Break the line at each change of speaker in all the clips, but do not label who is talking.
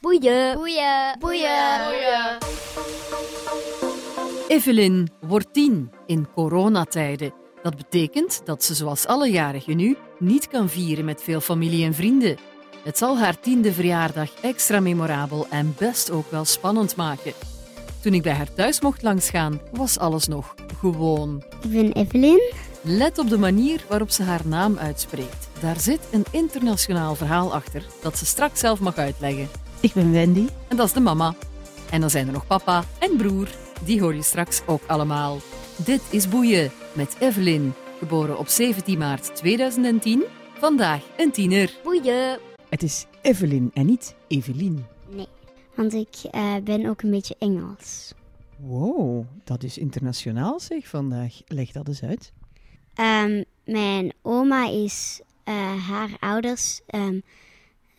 Boeien.
Boeien.
Boeien.
Evelyn wordt tien in coronatijden. Dat betekent dat ze, zoals alle jarigen nu, niet kan vieren met veel familie en vrienden. Het zal haar tiende verjaardag extra memorabel en best ook wel spannend maken. Toen ik bij haar thuis mocht langsgaan, was alles nog gewoon.
Ik ben Evelyn.
Let op de manier waarop ze haar naam uitspreekt. Daar zit een internationaal verhaal achter dat ze straks zelf mag uitleggen.
Ik ben Wendy.
En dat is de mama. En dan zijn er nog papa en broer. Die hoor je straks ook allemaal. Dit is Boeien met Evelyn, geboren op 17 maart 2010. Vandaag een tiener.
Boeien.
Het is Evelyn en niet Evelien.
Nee, want ik eh, ben ook een beetje Engels.
Wow, dat is internationaal zeg vandaag. Leg dat eens uit.
Ehm, mijn oma is, eh, haar ouders ehm,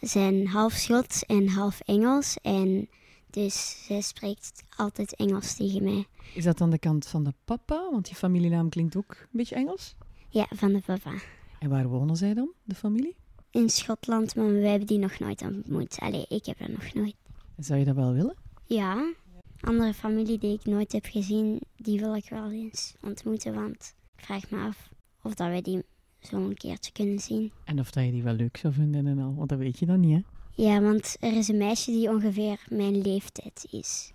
zijn half Schots en half Engels. En dus ze spreekt altijd Engels tegen mij.
Is dat aan de kant van de papa? Want die familienaam klinkt ook een beetje Engels.
Ja, van de papa.
En waar wonen zij dan, de familie?
In Schotland, maar wij hebben die nog nooit ontmoet. Allee, ik heb haar nog nooit.
Zou je dat wel willen?
Ja, andere familie die ik nooit heb gezien, die wil ik wel eens ontmoeten. Want ik vraag me af of dat wij die zo een keertje kunnen zien.
En of dat je die wel leuk zou vinden en al, want dat weet je dan niet hè.
Ja, want er is een meisje die ongeveer mijn leeftijd is.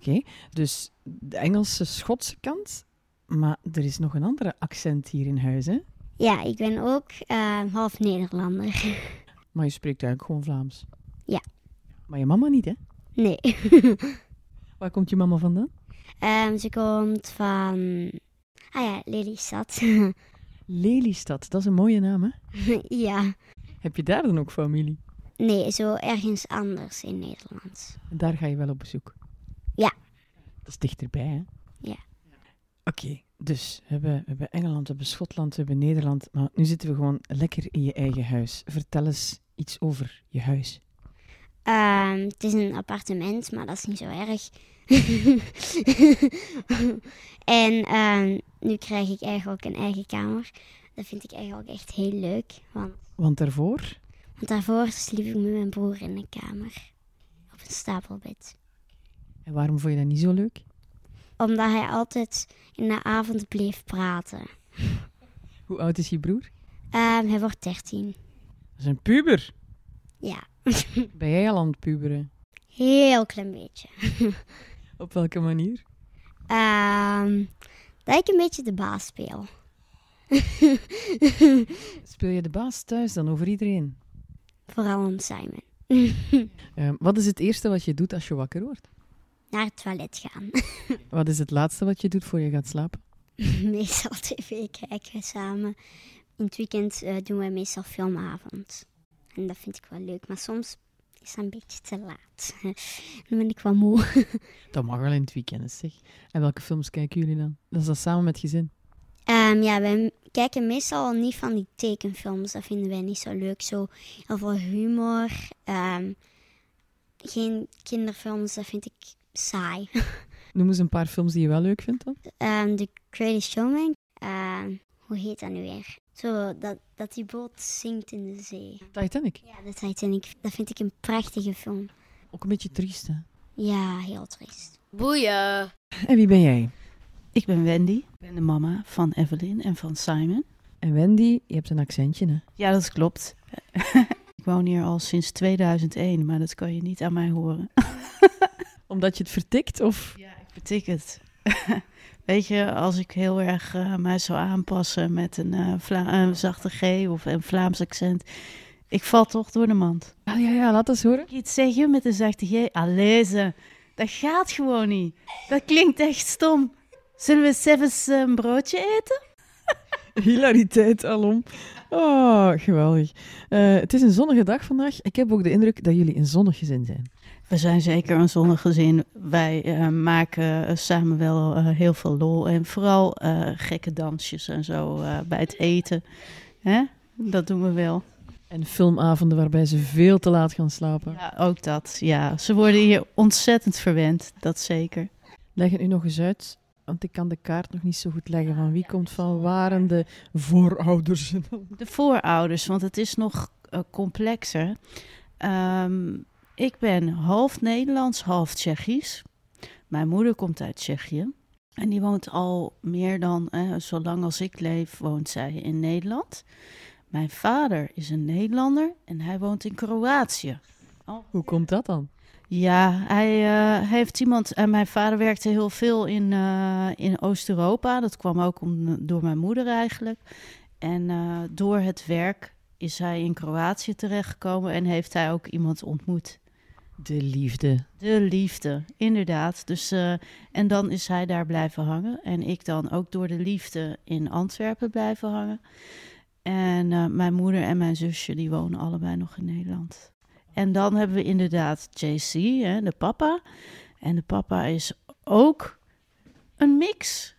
Oké, dus de Engelse Schotse kant. Maar er is nog een andere accent hier in huis hè.
Ja, ik ben ook eh, half Nederlander.
Maar je spreekt eigenlijk gewoon Vlaams.
Ja.
Maar je mama niet hè.
Nee.
Waar komt je mama vandaan?
Ehm, ze komt van. Ah ja, Lelystad.
Lelystad, dat is een mooie naam hè.
ja.
Heb je daar dan ook familie?
Nee, zo ergens anders in Nederland.
En daar ga je wel op bezoek?
Ja.
Dat is dichterbij, hè?
Ja.
Oké, dus we hebben, we hebben Engeland, we hebben Schotland, we hebben Nederland. Maar nu zitten we gewoon lekker in je eigen huis. Vertel eens iets over je huis.
Ehm, het is een appartement, maar dat is niet zo erg. en ehm, nu krijg ik eigenlijk ook een eigen kamer. Dat vind ik eigenlijk ook echt heel leuk. Want,
Want daarvoor,
want daarvoor sliep ik met mijn broer in een kamer. Op een stapelbed.
en waarom vond je dat niet zo leuk?
Omdat hij altijd in de avond bleef praten.
Hoe oud is je broer?
Ehm, hij wordt 13.
Dat is een puber.
Ja,
Ben jij al aan het puberen?
heel klein beetje.
Op welke manier?
Ehm, dat ik een beetje de baas speel.
Speel je de baas thuis dan over iedereen?
Vooral om Simon.
Ehm, wat is het eerste wat je doet als je wakker wordt?
Naar het toilet gaan.
Wat is het laatste wat je doet voor je gaat slapen?
meestal tv kijken we samen. In het weekend eh, doen we meestal filmavond. En dat vind ik wel leuk, maar soms is dat een beetje te laat. Dan ben ik wel moe.
Dat mag wel in het weekend, zeg. En welke films kijken jullie dan? Dat is dat samen met gezin.
Ehm, ja, wij kijken meestal niet van die tekenfilms. Dat vinden wij niet zo leuk. Zo heel veel humor. ehm, geen kinderfilms, dat vind ik saai.
Noem eens een paar films die je wel leuk vindt dan.
Ehm, de Greatest Showman. Ehm, hoe heet dat nu weer? Zo, dat, dat die boot zinkt in de zee.
Titanic.
Ja, de Titanic. Dat vind ik een prachtige film.
Ook een beetje triest, hè?
Ja, heel triest.
Boeien.
En wie ben jij?
Ik ben Wendy.
Ik ben de mama van Evelyn en van Simon.
En Wendy, je hebt een accentje, hè?
Ja, dat klopt. ik woon hier al sinds 2001, maar dat kan je niet aan mij horen.
Omdat je het vertikt, of...
Ja, ik betik het. Weet je, als ik heel erg eh, mij zou aanpassen met een, eh, Vla- een zachte G of een Vlaams accent, ik val toch door de mand.
Ah, Ja, ja, ja, laat eens horen.
Iets zeggen met een zachte G, allee ze, dat gaat gewoon niet. Dat klinkt echt stom. Zullen we zelfs een broodje eten?
Hilariteit alom. Oh, geweldig. Eh, het is een zonnige dag vandaag. Ik heb ook de indruk dat jullie een zonnig gezin zijn.
We zijn zeker een zonnig gezin. Wij eh, maken eh, samen wel eh, heel veel lol. En vooral eh, gekke dansjes en zo eh, bij het eten. Hè? Dat doen we wel.
En filmavonden waarbij ze veel te laat gaan slapen.
Ja, ook dat, ja. Ze worden hier ontzettend verwend, dat zeker.
Leg het nu nog eens uit, want ik kan de kaart nog niet zo goed leggen. Van wie komt van waar en de voorouders?
De voorouders, want het is nog eh, complexer. Ehm, Ik ben half Nederlands, half Tsjechisch. Mijn moeder komt uit Tsjechië. En die woont al meer dan, eh, zolang als ik leef, woont zij in Nederland. Mijn vader is een Nederlander en hij woont in Kroatië.
Hoe komt dat dan?
Ja, hij eh, heeft iemand. En mijn vader werkte heel veel in, eh, in Oost-Europa. Dat kwam ook om, door mijn moeder eigenlijk. En eh, door het werk is hij in Kroatië terechtgekomen en heeft hij ook iemand ontmoet.
De liefde.
De liefde, inderdaad. Dus, eh, en dan is hij daar blijven hangen. En ik dan ook door de liefde in Antwerpen blijven hangen. En eh, mijn moeder en mijn zusje, die wonen allebei nog in Nederland. En dan hebben we inderdaad JC, hè, de papa. En de papa is ook een mix.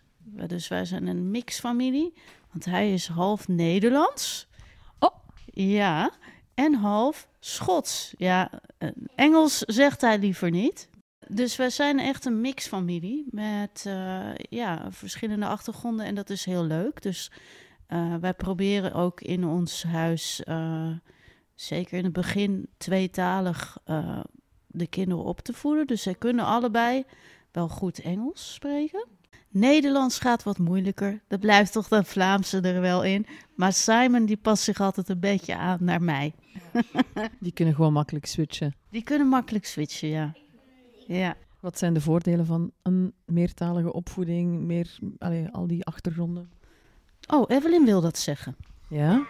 Dus wij zijn een mixfamilie. Want hij is half Nederlands.
Oh.
Ja. En half Schots. Ja, eh, Engels zegt hij liever niet. Dus wij zijn echt een mixfamilie met eh, ja, verschillende achtergronden en dat is heel leuk. Dus eh, wij proberen ook in ons huis, eh, zeker in het begin, tweetalig eh, de kinderen op te voeden. Dus zij kunnen allebei wel goed Engels spreken. Nederlands gaat wat moeilijker. Dat blijft toch dat Vlaamse er wel in. Maar Simon die past zich altijd een beetje aan naar mij.
Die kunnen gewoon makkelijk switchen.
Die kunnen makkelijk switchen, ja. Ja,
Wat zijn de voordelen van een meertalige opvoeding, meer, allee, al die achtergronden?
Oh, Evelyn wil dat zeggen.
Ja?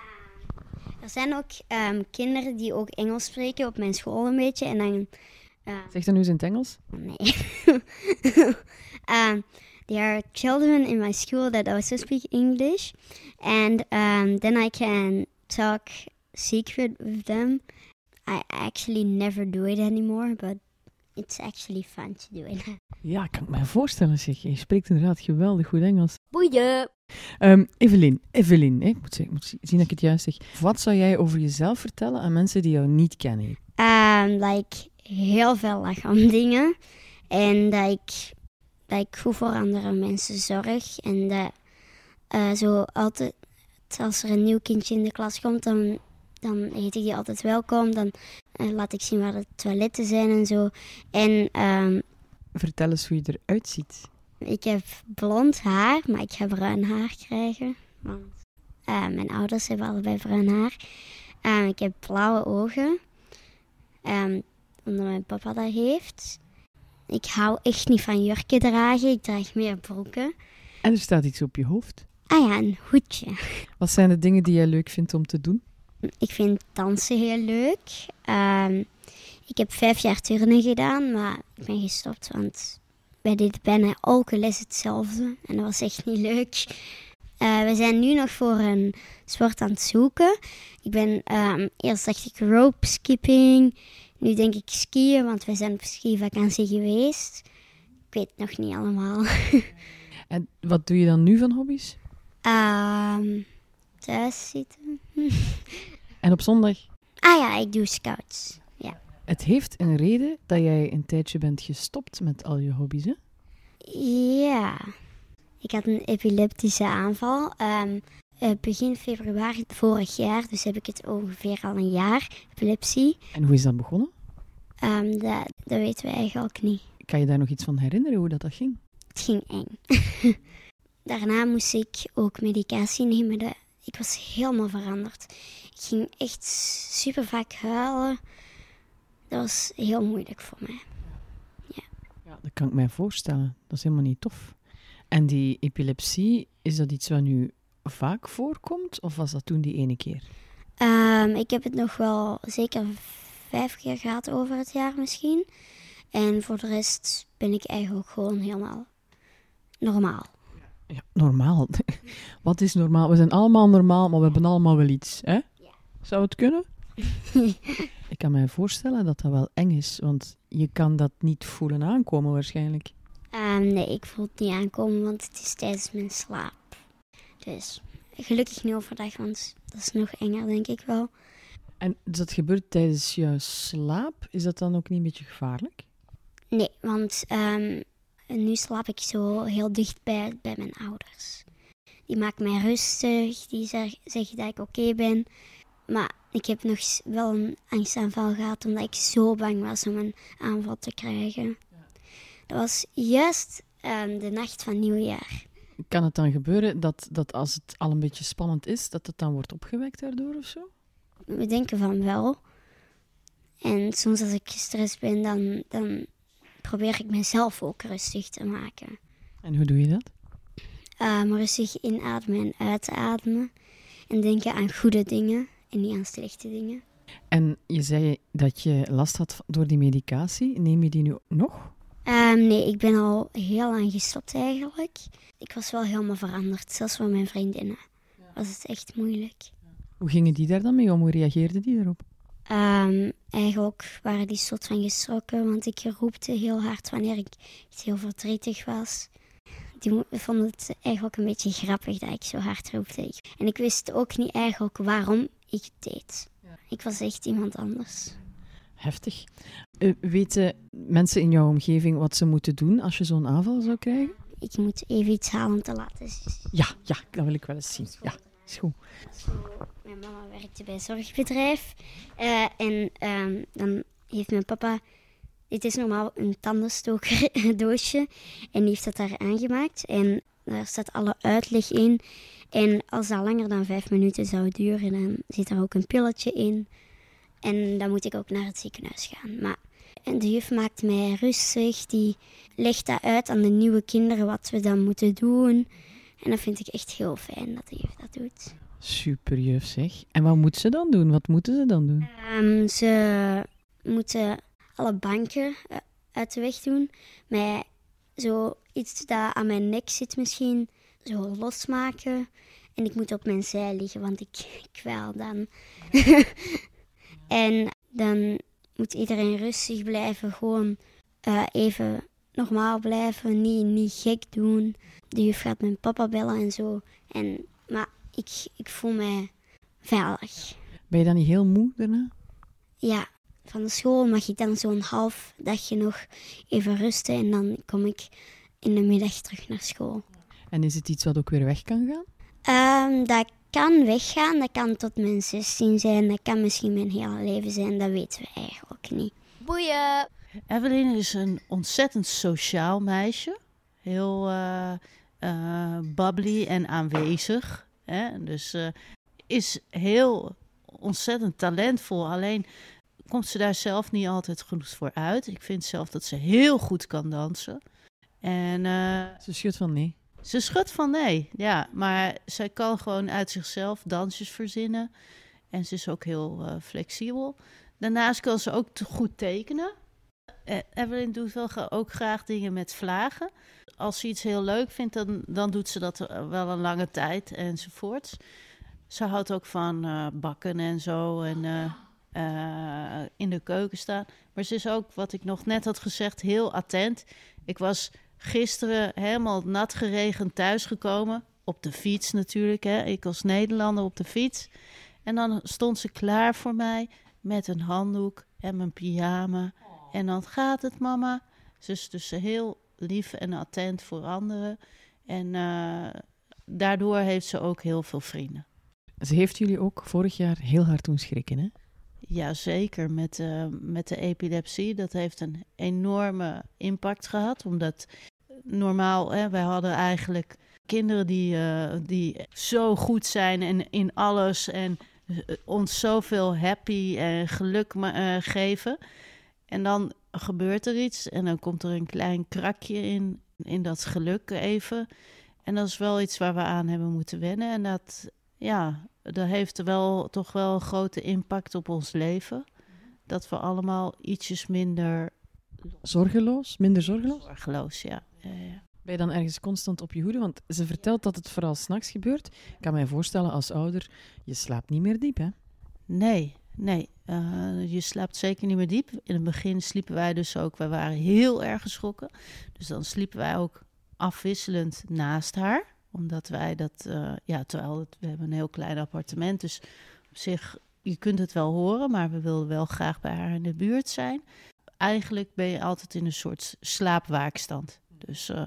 Er zijn ook ehm, kinderen die ook Engels spreken op mijn school een beetje. En dan... eh,
Zeg dan nu eens in het Engels.
Nee. um, there are children in my school that also speak English, and um, then I can talk secret with them. I actually never do it anymore, but it's actually fun to do it.
Ja, kan ik me voorstellen zeg. Je spreekt inderdaad geweldig goed Engels.
Boeien.
Ehm, Evelyn, Evelyn, hè, ik moet, zeggen- ik moet zien dat ik het juist zeg. Wat zou jij over jezelf vertellen aan mensen die jou niet kennen?
Um, like heel veel lichaamdingen en dat ik, dat ik goed voor andere mensen zorg en dat eh, zo altijd als er een nieuw kindje in de klas komt, dan, dan heet ik die altijd welkom. Dan eh, laat ik zien waar de toiletten zijn en zo. En ehm,
Vertel eens hoe je eruit ziet.
ik heb blond haar, maar ik ga bruin haar krijgen. Want eh, mijn ouders hebben allebei bruin haar. Ehm, ik heb blauwe ogen. ehm, omdat mijn papa dat heeft. Ik hou echt niet van jurken dragen. Ik draag meer broeken.
En er staat iets op je hoofd.
Ah ja, een hoedje.
Wat zijn de dingen die jij leuk vindt om te doen?
Ik vind dansen heel leuk. Ehm, ik heb vijf jaar turnen gedaan, maar ik ben gestopt. Want wij deden bijna elke les hetzelfde. En dat was echt niet leuk. Eh, we zijn nu nog voor een sport aan het zoeken. Ik ben, ehm, eerst dacht ik rope skipping. Nu denk ik skiën, want wij zijn op skivakantie geweest. Ik weet het nog niet allemaal.
En wat doe je dan nu van hobby's?
Ehm, thuis zitten.
En op zondag?
Ah ja, ik doe scouts.
Het heeft een reden dat jij een tijdje bent gestopt met al je hobby's, hè?
Ja, ik had een epileptische aanval. ehm, eh, begin februari vorig jaar, dus heb ik het ongeveer al een jaar, epilepsie.
En hoe is dat begonnen?
Ehm, dat, dat weten we eigenlijk ook niet.
Kan je daar nog iets van herinneren hoe dat, dat ging?
Het ging eng. Daarna moest ik ook medicatie nemen. Dat- ik was helemaal veranderd. Ik ging echt super vaak huilen. Dat was heel moeilijk voor mij.
Ja, dat kan ik mij voorstellen. Dat is helemaal niet tof. En die epilepsie, is dat iets wat nu vaak voorkomt? Of was dat toen die ene keer?
Ehm, ik heb het nog wel zeker vijf keer gehad over het jaar misschien. En voor de rest ben ik eigenlijk gewoon helemaal normaal.
Ja, normaal. Wat is normaal? We zijn allemaal normaal, maar we hebben allemaal wel iets. Hè? Zou het kunnen? ik kan mij voorstellen dat dat wel eng is, want je kan dat niet voelen aankomen waarschijnlijk.
Ehm, nee, ik voel het niet aankomen, want het is tijdens mijn slaap. Dus gelukkig niet overdag, want dat is nog enger, denk ik wel.
En dus dat gebeurt tijdens je slaap. Is dat dan ook niet een beetje gevaarlijk?
Nee, want ehm, nu slaap ik zo heel dicht bij, bij mijn ouders. Die maken mij rustig, die zeg- zeggen dat ik oké ben. Maar Ik heb nog s- wel een angstaanval gehad omdat ik zo bang was om een aanval te krijgen. Dat was juist ehm, de nacht van nieuwjaar.
Kan het dan gebeuren dat, dat als het al een beetje spannend is, dat het dan wordt opgewekt daardoor of zo?
We denken van wel. En soms als ik gestrest ben, dan, dan probeer ik mezelf ook rustig te maken.
En hoe doe je dat?
Ehm, rustig inademen en uitademen. En denken aan goede dingen en niet aan slechte dingen.
En je zei dat je last had van- door die medicatie. Neem je die nu nog?
Ehm, nee, ik ben al heel lang gestopt eigenlijk. Ik was wel helemaal veranderd, zelfs voor mijn vriendinnen. Was het echt moeilijk.
Hoe gingen die daar dan mee om? Hoe reageerden die daarop?
Ehm, eigenlijk waren die soort van geschrokken, want ik roepte heel hard wanneer ik echt heel verdrietig was. Die mo- vonden het eigenlijk een beetje grappig dat ik zo hard roepte. Ik- En ik wist ook niet eigenlijk waarom ik het deed. Ik was echt iemand anders.
Heftig. Eh, weten mensen in jouw omgeving wat ze moeten doen als je zo'n aanval zou krijgen?
Ik moet even iets halen om te laten zien.
Ja, ja, dat wil ik wel eens zien. Ja, is goed.
Mijn mama werkte bij een zorgbedrijf. Eh, en ehm, dan heeft mijn papa. Dit is normaal een tandenstokerdoosje. En die heeft dat daar aangemaakt. En daar staat alle uitleg in. En als dat langer dan vijf minuten zou duren, dan zit er ook een pilletje in. En dan moet ik ook naar het ziekenhuis gaan. Maar en de juf maakt mij rustig. Die legt dat uit aan de nieuwe kinderen wat we dan moeten doen. En dat vind ik echt heel fijn dat de juf dat doet.
Super juf zeg. En wat moet ze dan doen? Wat moeten ze dan doen?
Ehm, ze moeten alle banken eh, uit de weg doen. Mij zo iets dat aan mijn nek zit misschien zo losmaken. En ik moet op mijn zij liggen, want ik kwaal dan. en dan moet iedereen rustig blijven. Gewoon eh, even normaal blijven. Niet, niet gek doen. De juf gaat mijn papa bellen en zo. En, maar ik, ik voel mij veilig.
Ben je dan niet heel moe daarna?
Ja, van de school mag ik dan zo'n half dagje nog even rusten en dan kom ik in de middag terug naar school.
En is het iets wat ook weer weg kan gaan?
Ehm, dat kan weggaan, dat kan tot mijn 16 zijn, dat kan misschien mijn hele leven zijn, dat weten we eigenlijk niet.
Boeien.
Evelyn is een ontzettend sociaal meisje. Heel eh, eh, bubbly en aanwezig. Hè? Dus eh, is heel ontzettend talentvol. Alleen komt ze daar zelf niet altijd genoeg voor uit. Ik vind zelf dat ze heel goed kan dansen. En eh,
Ze schudt van nee.
ze schudt van nee, ja. Maar zij kan gewoon uit zichzelf dansjes verzinnen. En ze is ook heel eh, flexibel. Daarnaast kan ze ook te goed tekenen. Eh, Evelyn doet wel gra- ook graag dingen met vlagen. Als ze iets heel leuk vindt, dan, dan doet ze dat eh, wel een lange tijd enzovoorts. Ze houdt ook van eh, bakken en zo en eh, eh, in de keuken staan. Maar ze is ook, wat ik nog net had gezegd, heel attent. Ik was gisteren helemaal nat geregend thuisgekomen. Op de fiets natuurlijk, hè. ik als Nederlander op de fiets. En dan stond ze klaar voor mij met een handdoek en mijn pyjama. En dan gaat het, mama. Ze is dus heel lief en attent voor anderen. En eh, daardoor heeft ze ook heel veel vrienden.
Ze heeft jullie ook vorig jaar heel hard doen schrikken, hè?
Jazeker, met, eh, met de epilepsie. Dat heeft een enorme impact gehad. Omdat normaal, hè, wij hadden eigenlijk kinderen die, eh, die zo goed zijn en in alles. En eh, ons zoveel happy en geluk ma- eh, geven. En dan gebeurt er iets en dan komt er een klein krakje in, in dat geluk even. En dat is wel iets waar we aan hebben moeten wennen. En dat, ja, dat heeft wel toch wel een grote impact op ons leven. Dat we allemaal ietsjes minder
Zorgeloos? Minder zorgeloos?
zorgeloos, ja. Ja, ja.
Ben je dan ergens constant op je hoede? Want ze vertelt dat het vooral s'nachts gebeurt. Ik kan mij voorstellen als ouder, je slaapt niet meer diep, hè?
Nee, nee. eh, je slaapt zeker niet meer diep. In het begin sliepen wij dus ook. Wij waren heel erg geschrokken. Dus dan sliepen wij ook afwisselend naast haar. Omdat wij dat, eh, ja, terwijl het, we hebben een heel klein appartement. Dus op zich, je kunt het wel horen, maar we wilden wel graag bij haar in de buurt zijn. Eigenlijk ben je altijd in een soort slaapwaakstand. Dus, eh,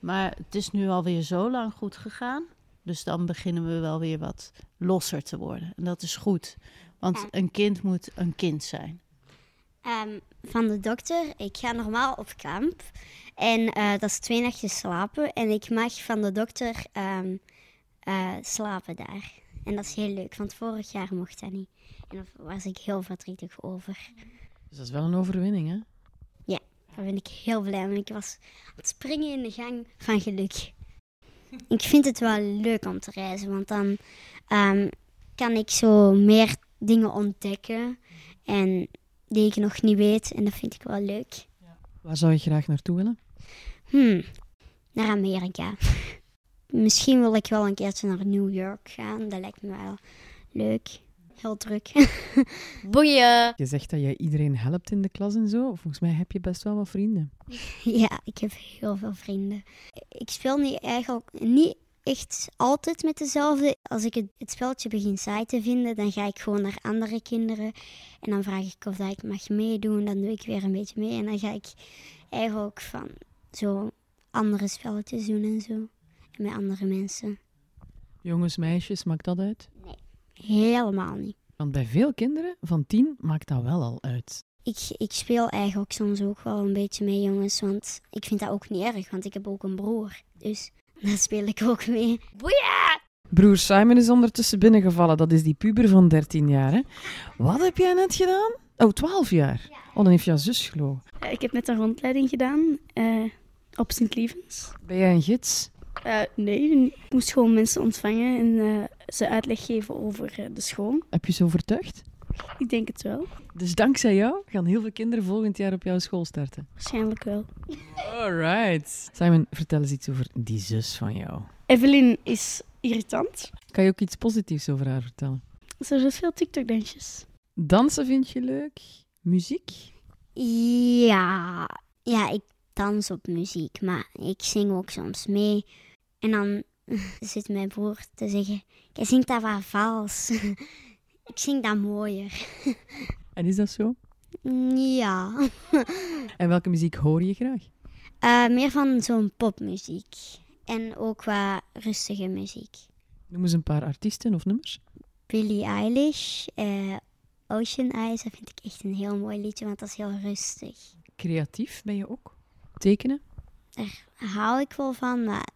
maar het is nu alweer zo lang goed gegaan. Dus dan beginnen we wel weer wat losser te worden. En dat is goed. Want een kind moet een kind zijn.
Ehm, van de dokter. Ik ga normaal op kamp. En eh, dat is twee nachtjes slapen. En ik mag van de dokter ehm, eh, slapen daar. En dat is heel leuk, want vorig jaar mocht dat niet. En daar was ik heel verdrietig over.
Dus dat is wel een overwinning, hè?
Daar ben ik heel blij mee. Ik was aan het springen in de gang van geluk. Ik vind het wel leuk om te reizen, want dan ehm, kan ik zo meer dingen ontdekken. En die ik nog niet weet. En dat vind ik wel leuk.
Waar zou je graag naartoe willen?
Hmm, naar Amerika. Misschien wil ik wel een keertje naar New York gaan. Dat lijkt me wel leuk. Heel druk.
Boeien.
Je zegt dat je iedereen helpt in de klas en zo. Volgens mij heb je best wel wat vrienden.
ja, ik heb heel veel vrienden. Ik speel niet eigenlijk niet echt altijd met dezelfde. Als ik het, het speltje begin saai te vinden, dan ga ik gewoon naar andere kinderen. En dan vraag ik of dat ik mag meedoen. Dan doe ik weer een beetje mee. En dan ga ik eigenlijk van zo andere spelletjes doen en zo. En met andere mensen.
Jongens, meisjes, maakt dat uit?
Helemaal niet.
Want bij veel kinderen van tien maakt dat wel al uit.
Ik, ik speel eigenlijk soms ook wel een beetje mee, jongens. Want ik vind dat ook niet erg, want ik heb ook een broer. Dus daar speel ik ook mee.
Broer Simon is ondertussen binnengevallen. Dat is die puber van 13 jaar, hè? Wat heb jij net gedaan? Oh, 12 jaar. Oh, dan heeft jouw zus gelogen.
Eh, Ik heb net een rondleiding gedaan eh, op Sint Lievens.
Ben jij een gids?
Eh, nee, ik moest gewoon mensen ontvangen en eh, ze uitleg geven over eh, de school.
Heb je ze overtuigd?
Ik denk het wel.
Dus dankzij jou gaan heel veel kinderen volgend jaar op jouw school starten.
Waarschijnlijk wel.
Alright. Simon, vertel eens iets over die zus van jou.
Evelyn is irritant.
Kan je ook iets positiefs over haar vertellen?
Ze doet veel TikTok-dansjes.
Dansen vind je leuk? Muziek?
Ja, ja, ik dans op muziek, maar ik zing ook soms mee. En dan zit mijn broer te zeggen: Jij zingt dat wel vals. ik zing dat mooier.
En is dat zo?
Ja,
En welke muziek hoor je graag?
Eh, meer van zo'n popmuziek. En ook wat rustige muziek.
Noem eens een paar artiesten of nummers.
Billie Eilish, eh, Ocean Eyes, dat vind ik echt een heel mooi liedje, want dat is heel rustig.
Creatief ben je ook. Tekenen?
Daar hou ik wel van, maar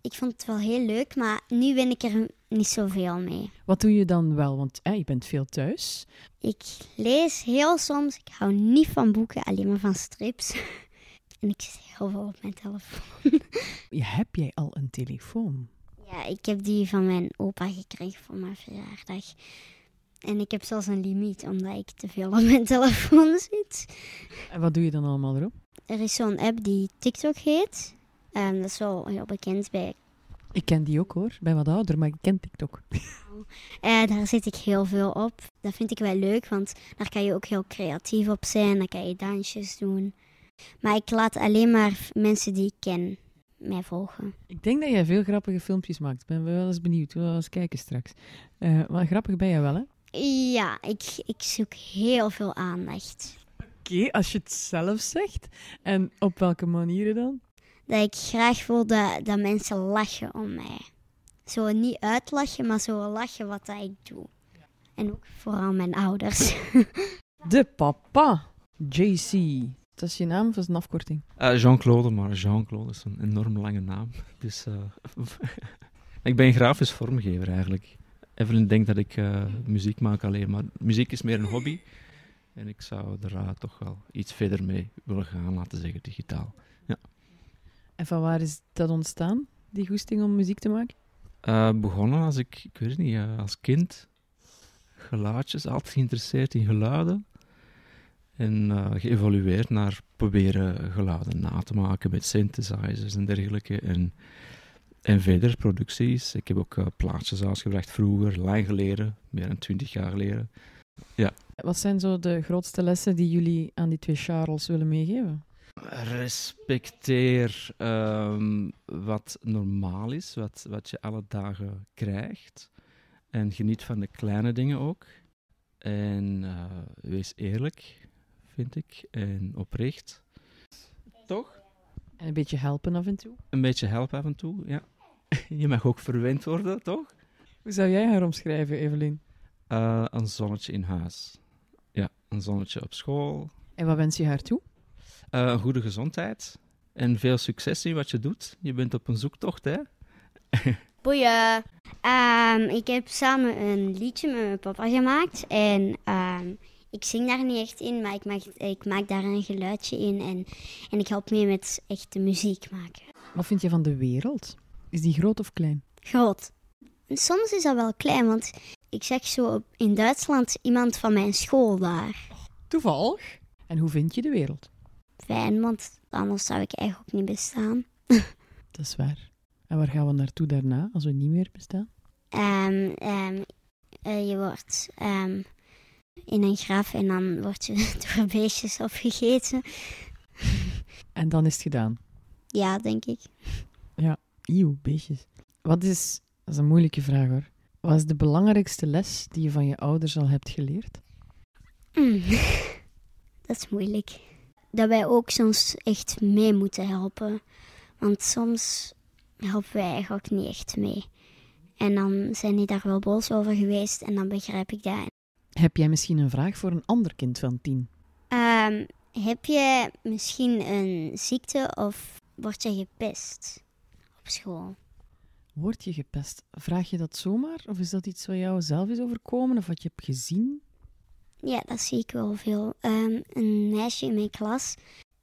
ik vond het wel heel leuk, maar nu ben ik er niet zoveel mee.
Wat doe je dan wel? Want eh, je bent veel thuis.
Ik lees heel soms, ik hou niet van boeken, alleen maar van strips. En ik zit heel veel op mijn telefoon.
Je- Heb jij al een telefoon?
Ja, ik heb die van mijn opa gekregen voor mijn verjaardag. En ik heb zelfs een limiet, omdat ik te veel op mijn telefoon zit.
En wat doe je dan allemaal erop?
Er is zo'n app die TikTok heet. Ehm, dat is wel heel bekend bij.
Ik ken die ook hoor. Ik ben wat ouder, maar ik ken TikTok.
Eh, daar zit ik heel veel op. Dat vind ik wel leuk, want daar kan je ook heel creatief op zijn. Dan kan je dansjes doen. Maar ik laat alleen maar mensen die ik ken mij volgen.
Ik denk dat jij veel grappige filmpjes maakt. Ik ben wel eens benieuwd. We gaan wel eens kijken straks. Eh, maar grappig ben jij wel, hè?
Ja, ik, ik zoek heel veel aandacht.
Oké, als je het zelf zegt. En op welke manieren dan?
Dat ik graag wil dat, dat mensen lachen om mij. Zo niet uitlachen, maar zo lachen wat dat ik doe. En ook vooral mijn ouders.
De papa. JC. Dat is je naam of is het een afkorting?
Eh, Jean-Claude, maar Jean-Claude is een enorm lange naam. Dus eh, ik ben grafisch vormgever eigenlijk. Evelyn denkt dat ik eh, muziek maak alleen, maar muziek is meer een hobby. En ik zou er eh, toch wel iets verder mee willen gaan, laten zeggen, digitaal.
En van waar is dat ontstaan? Die goesting om muziek te maken?
Eh, begonnen als ik, ik weet het niet, eh, als kind. Geluidjes, altijd geïnteresseerd in geluiden. En eh, geëvolueerd naar proberen geluiden na te maken met synthesizers en dergelijke. En, en verder producties. Ik heb ook eh, plaatjes uitgebracht vroeger, lang geleden, meer dan twintig jaar geleden.
Wat zijn zo de grootste lessen die jullie aan die twee Charles willen meegeven?
respecteer ehm, wat normaal is, wat, wat je alle dagen krijgt. En geniet van de kleine dingen ook. En eh, wees eerlijk, vind ik. En oprecht. Toch?
En een beetje helpen af en toe.
Een beetje help af en toe, ja. Je mag ook verwend worden, toch?
Hoe zou jij haar omschrijven, Evelien?
Eh, een zonnetje in huis. Ja, een zonnetje op school.
En wat wens je haar toe?
Eh, een goede gezondheid. En veel succes in wat je doet. Je bent op een zoektocht, hè?
Boeien.
Ehm, ik heb samen een liedje met mijn papa gemaakt. En ehm, ik zing daar niet echt in, maar ik maak, ik maak daar een geluidje in. En, en ik help mee met echt de muziek maken.
Wat vind je van de wereld? Is die groot of klein?
Groot. En soms is dat wel klein, want ik zag zo op- in Duitsland iemand van mijn school daar.
Toevallig. En hoe vind je de wereld?
Fijn, want anders zou ik eigenlijk ook niet bestaan.
Dat is waar. En waar gaan we naartoe daarna, als we niet meer bestaan?
Ehm, ehm, eh, je wordt ehm, in een graf en dan word je door beestjes opgegeten.
En dan is het gedaan.
Ja, denk ik.
Ieuw, beestjes. Wat is, dat is een moeilijke vraag hoor. Wat is de belangrijkste les die je van je ouders al hebt geleerd?
Mm. Dat is moeilijk. Dat wij ook soms echt mee moeten helpen. Want soms helpen wij eigenlijk ook niet echt mee. En dan zijn die daar wel boos over geweest en dan begrijp ik dat.
Heb jij misschien een vraag voor een ander kind van tien?
Ehm, heb je misschien een ziekte of word je gepest op school?
Word je gepest? Vraag je dat zomaar? Of is dat iets wat jou zelf is overkomen of wat je hebt gezien?
Ja, dat zie ik wel veel. Ehm, een meisje in mijn klas,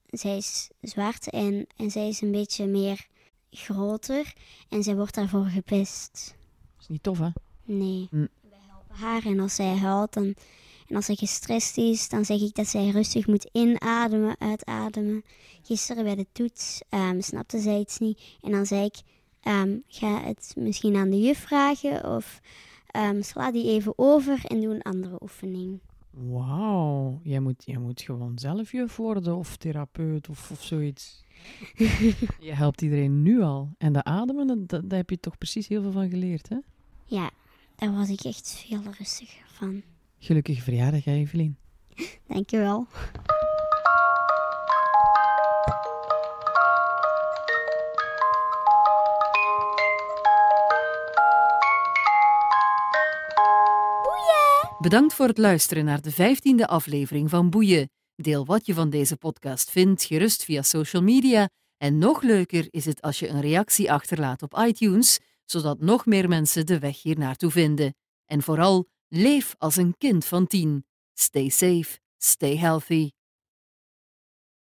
zij is zwart en, en zij is een beetje meer groter en zij wordt daarvoor gepest.
Dat is niet tof, hè?
Nee.
Mm.
Wij helpen haar en als zij huilt dan, en als zij gestrest is, dan zeg ik dat zij rustig moet inademen, uitademen. Gisteren bij de toets ehm, snapte zij iets niet en dan zei ik, ehm, ga het misschien aan de juf vragen of ehm, sla die even over en doe een andere oefening.
Wauw, jij moet, jij moet gewoon zelf juf worden of therapeut of, of zoiets. je helpt iedereen nu al. En de ademen, dat- dat- daar heb je toch precies heel veel van geleerd, hè?
Ja, daar was ik echt veel rustiger van.
Gelukkig verjaardag, hè, Evelien.
Dankjewel.
Bedankt voor het luisteren naar de vijftiende aflevering van Boeien. Deel wat je van deze podcast vindt gerust via social media. En nog leuker is het als je een reactie achterlaat op iTunes, zodat nog meer mensen de weg hier naartoe vinden. En vooral, leef als een kind van tien. Stay safe, stay healthy.